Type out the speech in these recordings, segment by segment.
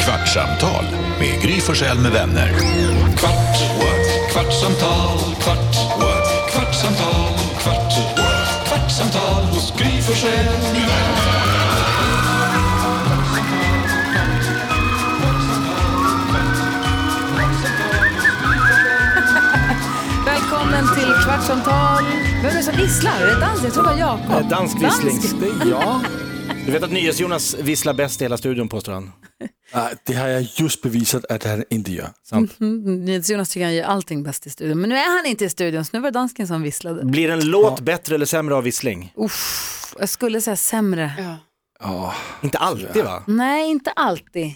Kvartsamtal med Gry Forssell med vänner. Kvart, what? kvartsamtal, kvart, what? kvartsamtal, kvart, what? kvartsamtal hos Gry Forssell med vänner. Välkommen till Kvartsamtal. Vem är det som visslar? Är det dans? Jag tror det var Jakob. Eh, Dansk vissling. Dansk. Ja. Du vet att NyhetsJonas visslar bäst i hela studion påstår han. Nej, det har jag just bevisat att han inte gör. Sant. Nils Mm, Jonas tycker han gör allting bäst i studion. Men nu är han inte i studion, så nu var det dansken som visslade. Blir en låt bättre eller sämre av vissling? Uff, jag skulle säga sämre. Inte alltid va? Nej, inte alltid.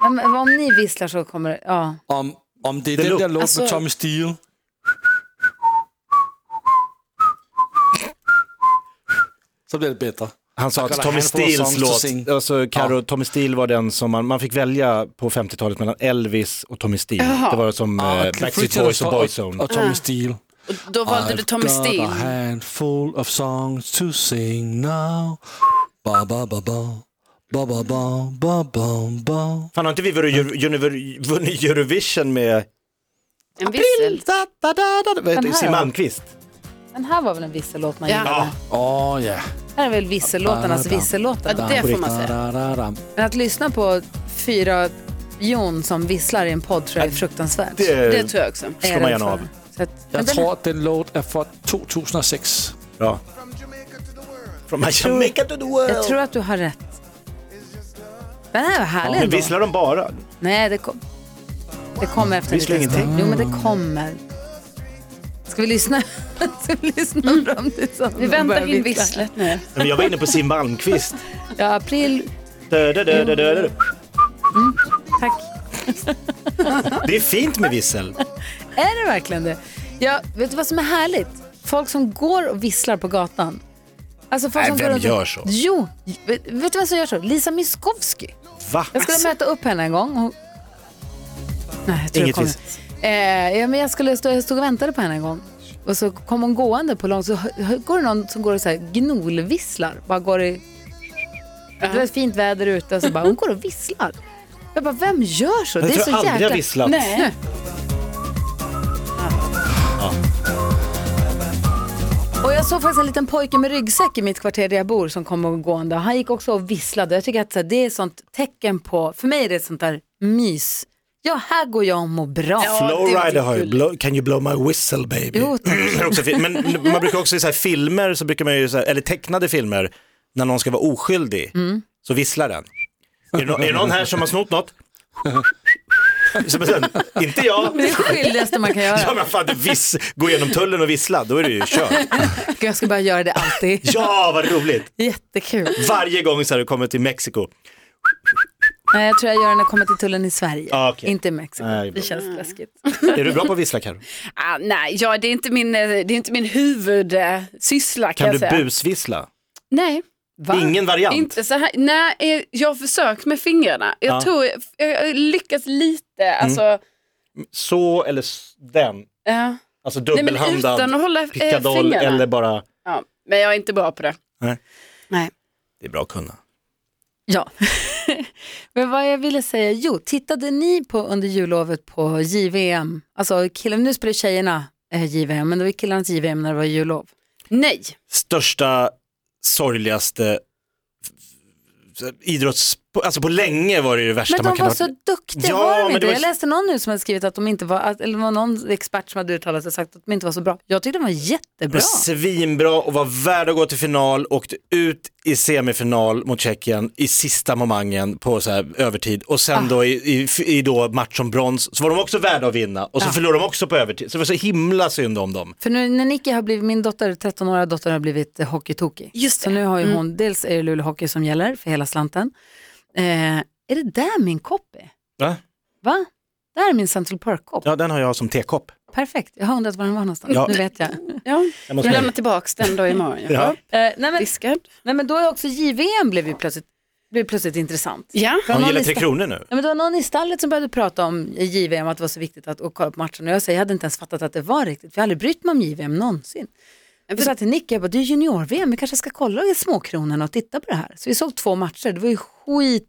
Ja, men om ni visslar så kommer det, ja. Om, om det är Det den luk- där låten Alltså- med Tommy Steele. Så blir det bättre. Han sa att Kolla, Tommy här får jag Steels sång to låt, sing. alltså Karo, Tommy Steele var den som man, man fick välja på 50-talet mellan Elvis och Tommy Steele. Det var som eh, Backstreet Boys och Boyzone. Och Tommy Steele. Och då valde du Tommy I've got a Steele. handful of songs to sing now. Ba ba ba ba. Ba ba ba ba ba ba. Fan har inte vi vunnit Euro- Univer- vunnit Eurovision med En vissel. Da, da, da, da, Den här, Siw ja. Malmkvist? Den här var väl en vissellåt man Ja. gillade? Åh ja. Det här är väl vissellåtarnas vissellåtar? Ja, det får man säga. Da-da-da-da. Men att lyssna på fyra jon som visslar i en podd tror jag är fruktansvärt. Det, Det tror jag också. Är slår man jag gärna rädd av. för. Så att- men Jag den- tror att den låt är från 2006. Bra. From Jamaica to the world. Jag tror att du har rätt. Den här var härlig Men ändå. visslar de bara? Nej, det, kom... det kommer efter en Visslar liten stund. Jo, men det kommer. Ska vi lyssna? Ska vi lyssna fram tills han Vi väntar börjar in vissla? visslet nu. Men jag var inne på Siw Malmkvist. Ja, april. Dö, dö, dö, dö, dö, dö. Tack. Det är fint med vissel. Är det verkligen det? Ja, vet du vad som är härligt? Folk som går och visslar på gatan. Alltså folk Nej, som vem går runt och- gör så? Jo, vet, vet du vem som gör så? Lisa Miskovsky. Va? Jag skulle möta upp henne en gång. Hon... Nej, jag tror Inget jag kommer. Eh, ja, men jag, skulle stå, jag stod och väntade på henne en gång. Och så kom hon gående på långt, så hö- hö- går det någon som går och så här gnolvisslar. Bara går i... Det var fint väder ute och så bara, hon går och visslar. Jag bara, vem gör så? jag det är tror så jag aldrig jäkla... jag visslat. Nej. Och jag såg faktiskt en liten pojke med ryggsäck i mitt kvarter där jag bor som kom och gående. Han gick också och visslade. Jag tycker att så här, det är ett sånt tecken på, för mig är det ett sånt där mys. Ja, här går jag och mår bra. Ja. det Flowrider var typ har ju, kul. blow, can you blow my whistle baby? Jo, tack. Det är också fint. Men man brukar också i så här filmer, så brukar man ju så här, eller tecknade filmer, när någon ska vara oskyldig, Mm. så visslar den. Är det, nå- är det någon här som har snott något? Så, men sen, inte jag. Det är det skyldigaste man kan göra. Ja men fan, du viss, gå igenom tullen och vissla, då är det ju kört. Gud, Jag ska bara göra det alltid. Ja, vad roligt. Jättekul. Varje gång så här du kommer till Mexiko. Nej, jag tror jag gör det när jag kommer till tullen i Sverige. Ah, okej. Inte i Mexiko. Nej, det bra. känns läskigt. Är du bra på att vissla Karo? Ah, nej, ja, det är inte min, eh, det är inte min huvudsyssla kan, Kan jag du säga. busvissla? Nej. Va? Ingen variant? Inte så här. Nej, eh, jag har försökt med fingrarna. Jag Ja. Mm. tror jag, jag lyckas lite. Alltså, Så eller s- den? ja. Alltså Nej, men dubbelhandad, utan att hålla eh, pickadoll fingrarna. eller bara... Ja, men jag är inte bra på det. Nej. Nej. Det är bra att kunna. Ja. Men vad jag ville säga, jo, tittade ni på under jullovet på JVM? Alltså, killen, nu spelar tjejerna eh, JVM, men det var killarnas JVM när det var jullov. Nej. Största, sorgligaste f- f- idrotts... Alltså på länge var det det värsta Men de man kan var ha. så duktiga, Ja, var de men inte? det var- Jag läste någon nu som hade skrivit att de inte var, att, eller det var någon expert som hade uttalat sig och sagt att de inte var så bra. Jag tyckte de var De var jättebra. Svinbra och var värda att gå till final, åkte ut i semifinal mot Tjeckien i sista momangen på så här övertid och Ah. sen då i, i, i då match om brons så var de också värda att vinna och så Ah. förlorade de också på övertid. Så det var så himla synd om dem. För nu när Nicky har blivit, min dotter, 13-åriga dotter har blivit eh, hockeytokig. Just Så det. nu har ju hon, dels är det Luleå Hockey som gäller för hela slanten. Eh, är det där min kopp är? Va? Va? Där är min Central Park-kopp. Ja, den har jag som tekopp. Perfekt, jag har undrat var den var någonstans. Ja. Nu vet jag. Ja. Jag Jag måste- lämnar tillbaka den då imorgon. Ja. Eh, nej, men, Diskad. nej men då är också JVM blev ju plötsligt, blev plötsligt intressant. Ja. För Hon någon gillar i Tre sta- Kronor nu. Ja, men det var någon i stallet som började prata om JVM, att det var så viktigt att och kolla på matchen. Och jag säger, jag hade inte ens fattat att det var riktigt, för jag har aldrig brytt mig om JVM någonsin. Jag sa till Nick, jag bara, det är junior-VM, vi kanske ska kolla i småkronorna och titta på det här. Så vi såg två matcher, det var ju skit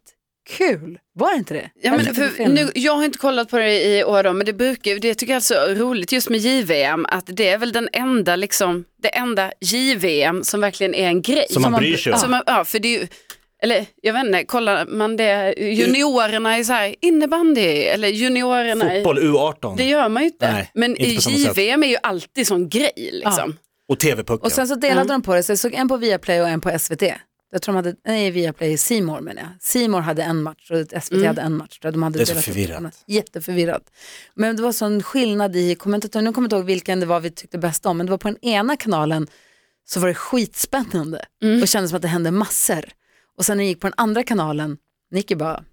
kul. Var det inte det? Ja, men Eller för filmen? nu, jag har inte kollat på det i år då, men det brukar ju- det tycker jag är så roligt just med JVM, att det är väl den enda, liksom, det enda JVM som verkligen är en grej. Som man bryr sig om. Som man, ja, för det är ju, eller jag vet inte, kollar man det, juniorerna i så här innebandy eller juniorerna Fotboll U18 i, det gör man ju inte. Nej, men inte i på samma sätt. JVM är ju alltid sån grej liksom. och Och TV-pucken. sen så delade Mm. de på det, så jag såg en på Viaplay och en på SVT. Jag tror de hade, nej Viaplay, C More menar jag. C More hade en match och SVT hade en match. tror jag. De hade Mm. Det är så delat upp förvirrat. dem. Jätteförvirrat. Men det var sån skillnad i kommentatorn, nu kommer jag inte ihåg vilken det var vi tyckte bäst om, men det var på den ena kanalen så var det skitspännande Mm. och kändes som att det hände massor. Och sen när jag gick på den andra kanalen, Nicky bara,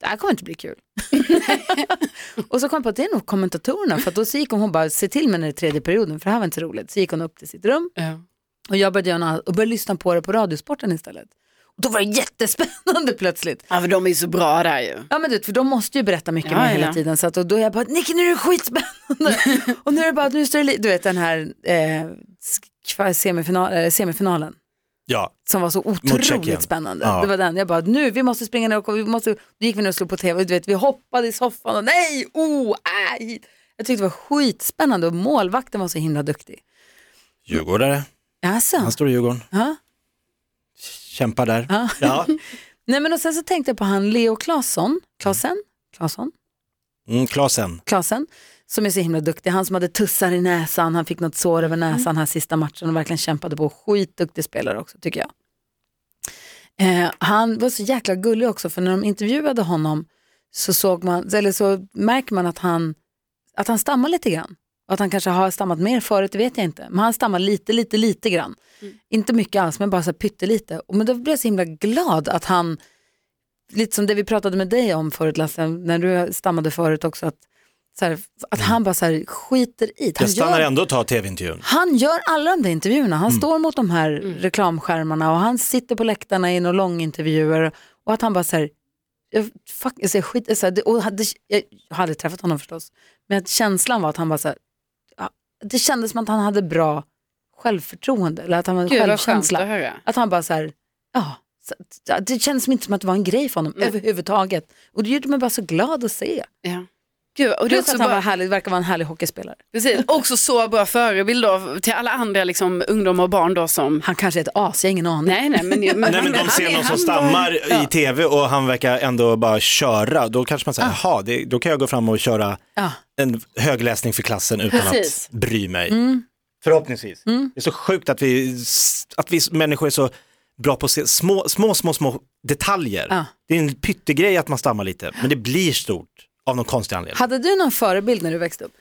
det här kommer inte bli kul. Och så kom jag på att det är nog kommentatorerna, för att då så gick hon, hon bara, se till mig när det är tredje perioden, för det här var inte så roligt. Så gick hon upp till sitt rum, och jag började, göra något annat och började lyssna på det på Radiosporten istället. Och då var det jättespännande plötsligt. Ja, för de är ju så bra där ju. Ja men du vet, för de måste ju berätta mycket Ja, mer ja. hela tiden. Så att, och då är jag bara, Nicky nu är det skitspännande. och nu är det bara, nu står det, li- du vet den här eh, kva- semifinal, eh, semifinalen Ja. som var så Tjeckien. otroligt spännande. Ja. Det var den, jag bara nu, vi måste springa ner och vi måste, då gick vi ner och slog på tv, och du vet, vi hoppade i soffan och nej, oh, aj. Jag tyckte det var skitspännande och målvakten var så himla duktig. Djurgårdare, Alltså, han står i Djurgården, ja. kämpar där. Ja. Ja. Nej men och sen så tänkte jag på han Leo Claesson, Claesson, Claesson, Mm, Klasen. Claesson, som är så himla duktig. Han som hade tussar i näsan, han fick något sår över näsan här sista matchen och verkligen kämpade på. Skitduktig spelare också tycker jag. Eh, han var så jäkla gullig också för när de intervjuade honom så såg man, eller så märker man att han, att han stammar lite grann. Och att han kanske har stammat mer förut, det vet jag inte. Men han stammar lite, lite, lite grann. Inte mycket alls, men bara så här pyttelite. Och men då blev jag så himla glad att han, lite som det vi pratade med dig om förut Lasse, när du stammade förut också, att, så här, att han bara så här skiter i det. Han Mm. Jag stannar gör- ändå och tar tv-intervjun. han gör alla de där intervjuerna. Han står mot de här Mm. reklamskärmarna och han sitter på läktarna i några långintervjuer. Och att han bara så här, jag, fuck, alltså jag, skit, så här det, och hade, jag har aldrig träffat honom förstås, men att känslan var att han bara så här, ja, det kändes som att han hade bra självförtroende, eller att han hade Gud vad skönt att självkänsla. höra. Att han bara så här, ja, så, att- det kändes inte som att det var en grej för Mm. honom överhuvudtaget. Och det gjorde mig bara så glad att se. Ja. Gud, och det är Plus också att han bara... var härlig, verkar vara en härlig hockeyspelare. Precis, också så bra förebild då, till alla andra liksom, ungdomar och barn då som... Han kanske är ett as, jag har ingen aning. Nej, nej, men, men, Nej men de han ser är- någon som han stammar var- ja. i tv och han verkar ändå bara köra. Då kanske man säger, jaha, det- då kan jag gå fram och köra Ja. en högläsning för klassen utan Precis. Mm. att bry mig. Förhoppningsvis. Det är så sjukt att vi, att vi människor är så bra på att se små, små, små, små detaljer. Ja. Det är en pyttegrej att man stammar lite, men det blir stort av någon konstig anledning. Hade du någon förebild när du växte upp?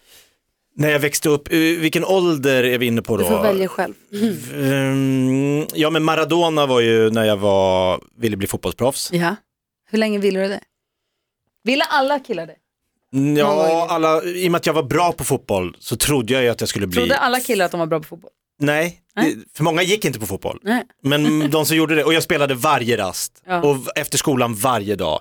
När jag växte upp, eh, vilken ålder är vi inne på då? Du får välja själv. Ehm, ja men Maradona var ju när jag var, ville bli fotbollsproffs. Ja. Hur länge ville du det? Ville alla killar det? Ja, gång. alla, i och med att jag var bra på fotboll så trodde jag ju att jag skulle bli... Trodde alla killar att de var bra på fotboll? Nej, det- för många gick inte på fotboll. Nej. Men de som gjorde det, och jag spelade varje rast Ja. Mm. och v- efter skolan varje dag.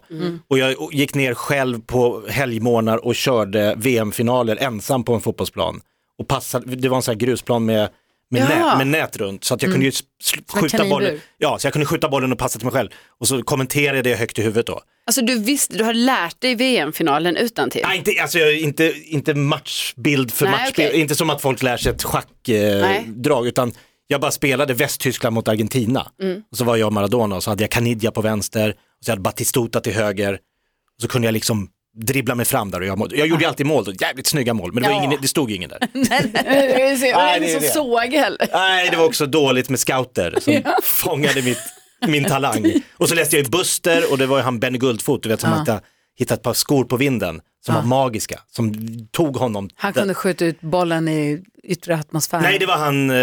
Och jag och gick ner själv på helgmorgnar och körde VM-finaler ensam på en fotbollsplan. Och passade, det var en sån här grusplan med, med, Ja. nät, med nät runt så att Mm. jag kunde ju s- sl- en skjuta kaninbur. bollen. Ja, så jag kunde skjuta bollen och passa till mig själv. Och så kommenterade jag det högt i huvudet då. Alltså du visste, du har lärt dig VM-finalen utan till. Nej, inte, alltså, jag- inte, inte matchbild för Nej, matchbild, okej. inte som att folk lär sig ett Nej. schackdrag, eh, drag, utan jag bara spelade Västtyskland mot Argentina. Och så var jag Maradona och så hade jag Canidia på vänster, och så hade jag Batistuta till höger, och så kunde jag liksom dribbla mig fram där och jag, mål- jag gjorde ju alltid mål då, jävligt snygga mål, men det, var Ja. ingen, det stod ju ingen där. det är Nej, ingen det är som det. såg heller. Nej, det var också dåligt med scouter som fångade mitt, min talang. Och så läste jag ju Buster och det var ju han Benny Guldfot, du vet som hade hittat ett par skor på vinden som var magiska, som tog honom. Han kunde skjuta ut bollen i yttre atmosfär. Nej, det var han, eh,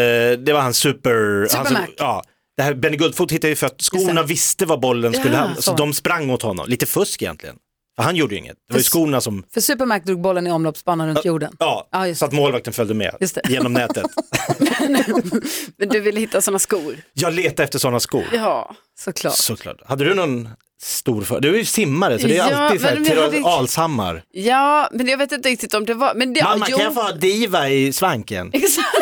det var han super... han som- Mac. ja. Det här, Benny Guldfot hittade ju för att skorna visste var bollen skulle Ja, hamna, så. så. de sprang åt honom. Lite fusk egentligen. För han gjorde ju inget. Det var ju Fus- skorna som... För Supermac drog bollen i omloppsbanan runt jorden. Ja, Ja, just så att målvakten följde med Just det. genom nätet. Men du ville hitta sådana skor. Jag letade efter sådana skor. Ja. Såklart. Såklart. Hade du någon stor för... Du är ju simmare, så det är Ja, alltid så här, men vi hade- Tyrell Alshammar. ja, men jag vet inte riktigt om det var... Men det, Mamma, ja, jo, kan jag få ha diva i svanken? Exakt.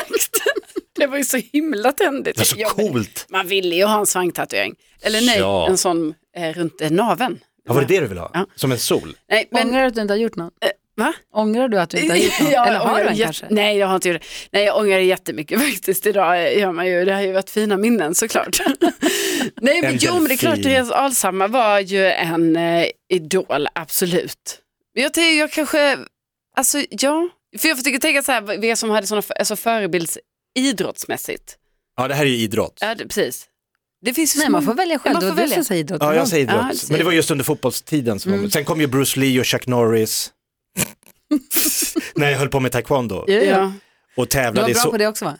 Det var ju så himla Det var tändigt. så Ja, men coolt. Man ville ju ha en svanktatuering. Eller nej, Ja. en sån eh, runt eh, naveln Ja, var det det du ville ha? Ja. Som en sol? Nej, men, Ångrar du att du inte har gjort något? va? Ångrar du att du inte har gjort något? Ja, Eller jag har ångrar du en jätte- kanske? Nej, jag har inte gjort det. Nej, jag ångrar jättemycket faktiskt. Idag gör man ju, det har ju varit fina minnen såklart. Nej, men En jo, men det är klart, delfin. Therese Alshammar var ju en eh, idol, absolut. Men jag tänker, jag kanske, alltså ja, för jag försöker tänka så här, vad- vi som hade sådana alltså, förebildsidrottsmässigt. Ja, det här är ju idrott. Ja, det, precis. Det finns ju Nej, så man många- får välja själv. Man Det var får du välja. som sa idrott. Ja, jag säger idrott. Ja, det ser men det var just under fotbollstiden. Som Mm. var- Sen kom ju Bruce Lee och Chuck Norris. När jag höll på med taekwondo Ja, ja. Ja. och Du var tävlade i bra så. på det också va?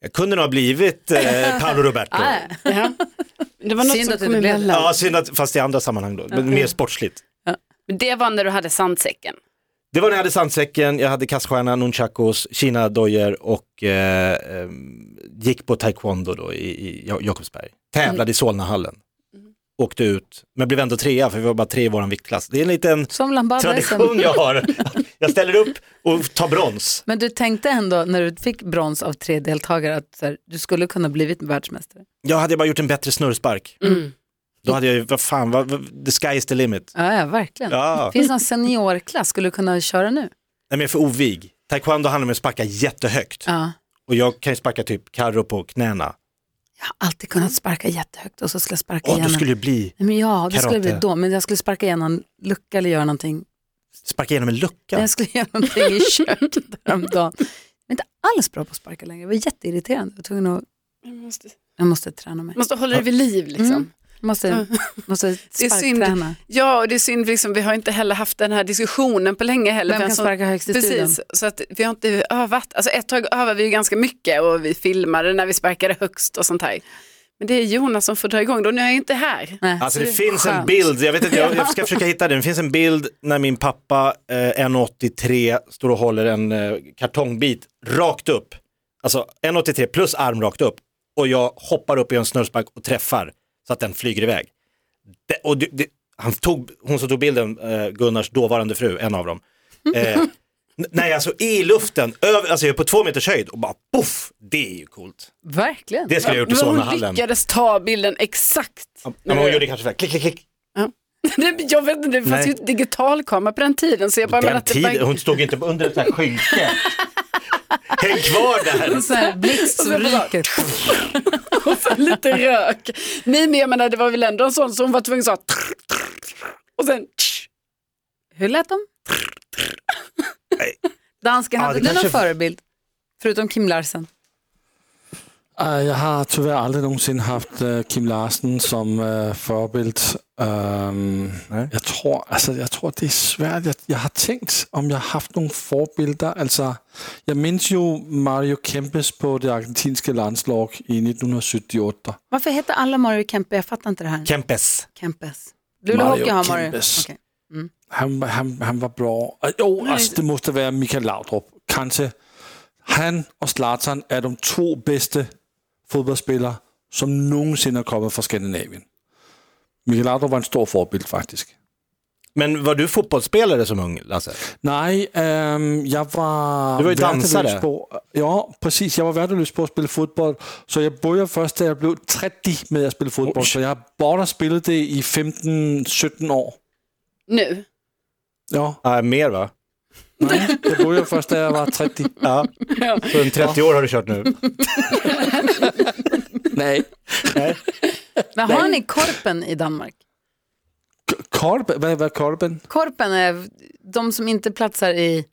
Jag kunde nog ha blivit eh, Paolo Roberto. Nej. Ja. Det var något Synd som att det kom inte blev emellan. Ja, synd att, fast i andra sammanhang då, men mer sportsligt. Men Det var när du hade sandsäcken. Det var när jag hade sandsäcken, jag hade kaststjärna, nunchakos, kina dojer och eh, eh, gick på taekwondo då i, i Ja- Jakobsberg. Tävlade i Solnahallen. Mm. Åkte ut, men blev ändå trea för vi var bara tre i vår viktklass. Det är en liten Som Lambada tradition jag har. Jag ställer upp och tar brons. Men du tänkte ändå när du fick brons av tre deltagare att så här, du skulle kunna blivit världsmästare? Jag hade bara gjort en bättre snurrspark. Mm. Då hade jag ju, vad fan, vad, vad, the sky is the limit. Ja, ja verkligen. Ja. Finns det någon seniorklass skulle du kunna köra nu? Nej men jag är för ovig. Taekwondo handlar om att sparka jättehögt. Ja. Och jag kan ju sparka typ karro på knäna. Jag har alltid kunnat sparka jättehögt och så skulle jag sparka Åh, igen då en- skulle det bli, Nej, Men ja, det skulle jag bli Karate. då, men jag skulle sparka igen en lucka eller göra någonting. sparka igenom en lucka. Men Jag skulle göra någonting i köket häromdagen. Jag är inte alls bra på att sparka längre, det var jätteirriterande. Jag, var tvungen att, Jag måste, jag måste träna mig. måste hålla det vid liv liksom. Mm. Jag måste, måste är synd. sparkträna. Ja, och det är synd, liksom, vi har inte heller haft den här diskussionen på länge heller. Vem kan som- sparka högst i studion? Precis, så att vi har inte övat. Alltså ett tag övade vi ju ganska mycket och vi filmade när vi sparkade högst och sånt här. Men det är Jonas som får dra igång då, nu är jag inte här. Nej. Alltså så det är finns en skönt. bild, jag, vet inte, jag, jag ska försöka hitta den, det finns en bild när min pappa, eh, 1,83, står och håller en eh, kartongbit rakt upp. Alltså 1,83 plus arm rakt upp. Och jag hoppar upp i en snurrspark och träffar så att den flyger iväg. Det, och det, det, han tog, hon som tog bilden, eh, Gunnars dåvarande fru, en av dem. Eh, n- nej, alltså i luften, över, alltså jag är på två meters höjd och bara poff, det är ju coolt. Verkligen. Det skulle jag ha gjort i Men hon Solnahallen. lyckades ta bilden exakt. Ja, men hon gjorde kanske så här, klick, klick, klick. Det- jag vet inte, det fanns Nej. ju inte digitalkamera på den tiden. Så jag bara, men Den att det bara- tiden, hon stod inte under ett sånt här skynke. Häng kvar där. En sån här blixt som Och så bara- ryker. och sen lite rök. Nej men jag menar det var väl ändå en sån som hon var tvungen att säga och sen Hur lät de? Dansken, Ja, hade det du någon kanske- förebild? Förutom Kim Larsen. Eh, Jeg har tyvärr aldrig nogensinde haft eh, Kim Larsen som øh, forbild. Øhm, Nej. jeg, tror, altså, jeg tror, det er svært. Jeg, jeg har tænkt, om jeg har haft nogle forbilder. Altså, jeg mindes jo Mario Kempes på det argentinske landslag i 1978. Varför heter alla Mario Kempe? Jag fattar inte det här. Kempes. Kempes. Luleå Mario Hockey har Mario. Kempes. Okej. Han, han, han var bra. Og Jo, altså, det måste være Michael Laudrup. Kanskje han og Zlatan er de to bedste fodboldspillere, som nogensinde er kommet fra Skandinavien. Michael Laudrup var en stor forbild, faktisk. Men var du fotbollsspelare som ung, Lasse? Nej, øhm, jeg var... Du var jo danser, værteløs da. på, ja, præcis. Jeg var værteløs på at spille fodbold, så jeg burde først, da jeg blev 30 med at spille fodbold, så jeg har bare spillet det i 15-17 år. nu. Ja, Ja, mer va? nej, jeg burde først, da jeg var 30. Ja. Så en 30 år har du kört nu. Nej. Men har ni Korpen i Danmark? Korben? Hvad, hvad er korben? Korpen är de som inte platsar i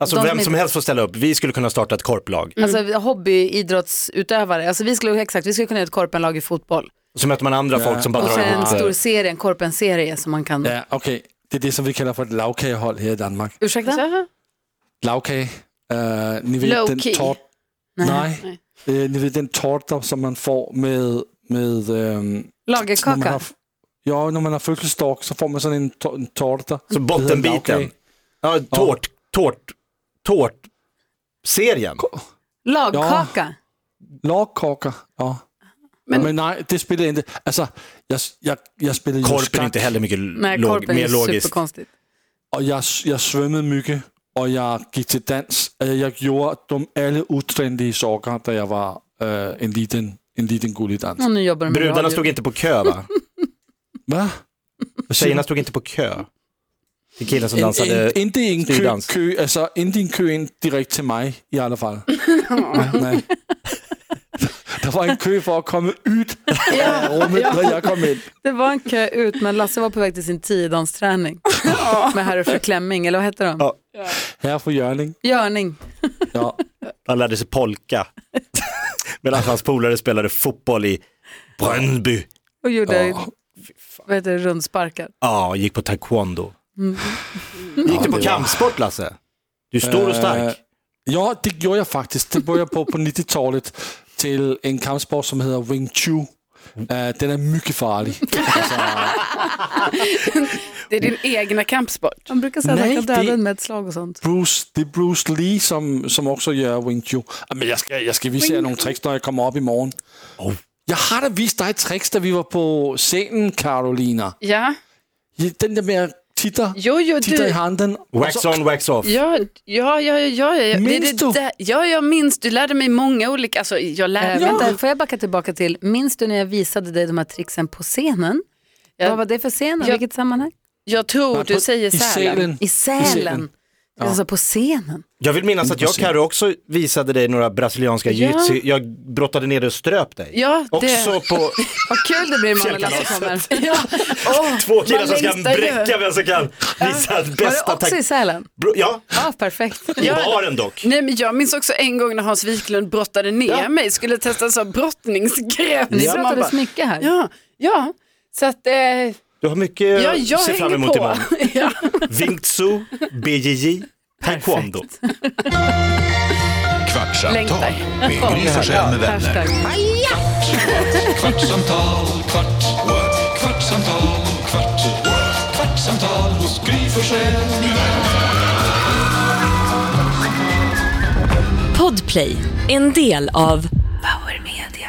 Alltså De som vem som inte- helst får ställa upp. Vi skulle kunna starta ett korplag. alltså, hobbyidrottsutövare. Alltså, vi, skulle, exakt, vi skulle kunna göra ett Korpenlag i fotboll. Så möter man andra folk som bara Och så drar en ihop stor det. serie, en Korpen-serie som man kan... Ja, okay. Det er det, som vi kalder for et lavkagehold her i Danmark. Ursäkta? Lavkage. Uh, ni ved, Low den key. tort... Nej. Nej. Øh, ni ved, den torter, som man får med... med øhm, når man Lagerkaka? har, jo, når man har fødselsdag, så får man sådan en, to- en torter. Så bottenbiten. Ja, tårt, tårt, tårt. Serien. Lagkaka? Lagkokker. Ja. Men, Men nej, det spillede jeg ikke. Altså, jeg, jeg, jeg spillede jo Korpen är skak, inte heller mycket Nej, log- Korpen mer är logiskt. superkonstigt. og jeg, jeg svømmede mygge, og jeg gik til dans. Øh, Jeg gjorde dem alle utrendige sokker, da jeg var øh, en Mm. liten, en liten gullig dans. Och nu jobbar de med Brudarna radio. stod inte på kö va? Hvad? Och tjejerna stod inte på kö. Till killen som En, en, dansade. inte i en kö, styrdans. kö, alltså inte i en kö in direkt till mig i alla fall. Nej. Det var en kö för att komma ut Ja, ur rummet när jag kom in. det var en kö ut när Lasse var på väg till sin tiodansträning med herr fru Klemming, eller vad hette de? Ja. Här får Görling. Görning. Ja. Han lärde sig polka. Medan hans polare spelade fotboll i Brönnby. Och gjorde Ja. vad heter det, rundsparkar. Ja, gick på taekwondo. Mm. Gick du på kampsport Lasse? Du är stor och Eh, stark. Ja, det gjorde jag faktiskt. Det började jag på på 90-talet till en kampsport som heter Wing Chun. Eh, den är mycket farlig. Det är din egna kampsport. Man brukar säga att Nej, han kan döda det- en med ett slag och sånt. Bruce, det är Bruce Lee som, som också gör Wing Chun. Ah, Men jag ska, jag ska visa er nogle tricks när jag kommer upp imorgon. Oh. Jag har da vist dig tricks där vi var på scenen, Carolina. Ja, Den där med att titta, jo, jo, titta i du. handen. Wax on, wax off. alltså, Ja, ja, ja, ja, ja, ja. Minns det, du? det, ja, jag minns. Du lärde mig många olika, alltså jag lärde Eh, mig. vänta, får jag backa tillbaka till, minns du när jag visade dig de här tricksen på scenen? Ja. Vad var det för scen och Ja. vilket sammanhang? Jag tror du säger I Sälen. Sälen. I Sälen. Sälen. Jag Alltså på scenen. Jag vill minnas att jag och Carro också visade dig några brasilianska Ja. jujutsu. Jag brottade ner dig och ströp dig. Ja, det- Också på Vad kul det blir man när Lasse kommer. Ja. två killar Man som ska längtar ju. bräcka vem som kan visa Var det bästa också i tack. Sälen? Bro- Ja, Ja, perfekt. i Ja. baren dock. Nej, men jag minns också en gång när Hans Wiklund brottade ner mig, skulle testa en sån brottningsgrepp. Ni Så man pratades bara, mycket här. Ja, ja. Så att, eh, ja, Du har mycket att jag se fram hänger emot på. imorgon. ja. Wing Tzu, BJJ, taekwondo. Kvartsamtal Längtar. med Gry Forssell med vänner. Hashtag. Kvartsamtal, kvart, what? kvartsamtal, kvart, what? kvartsamtal hos Gry Forssell med vänner. Podplay, en del av Power Media.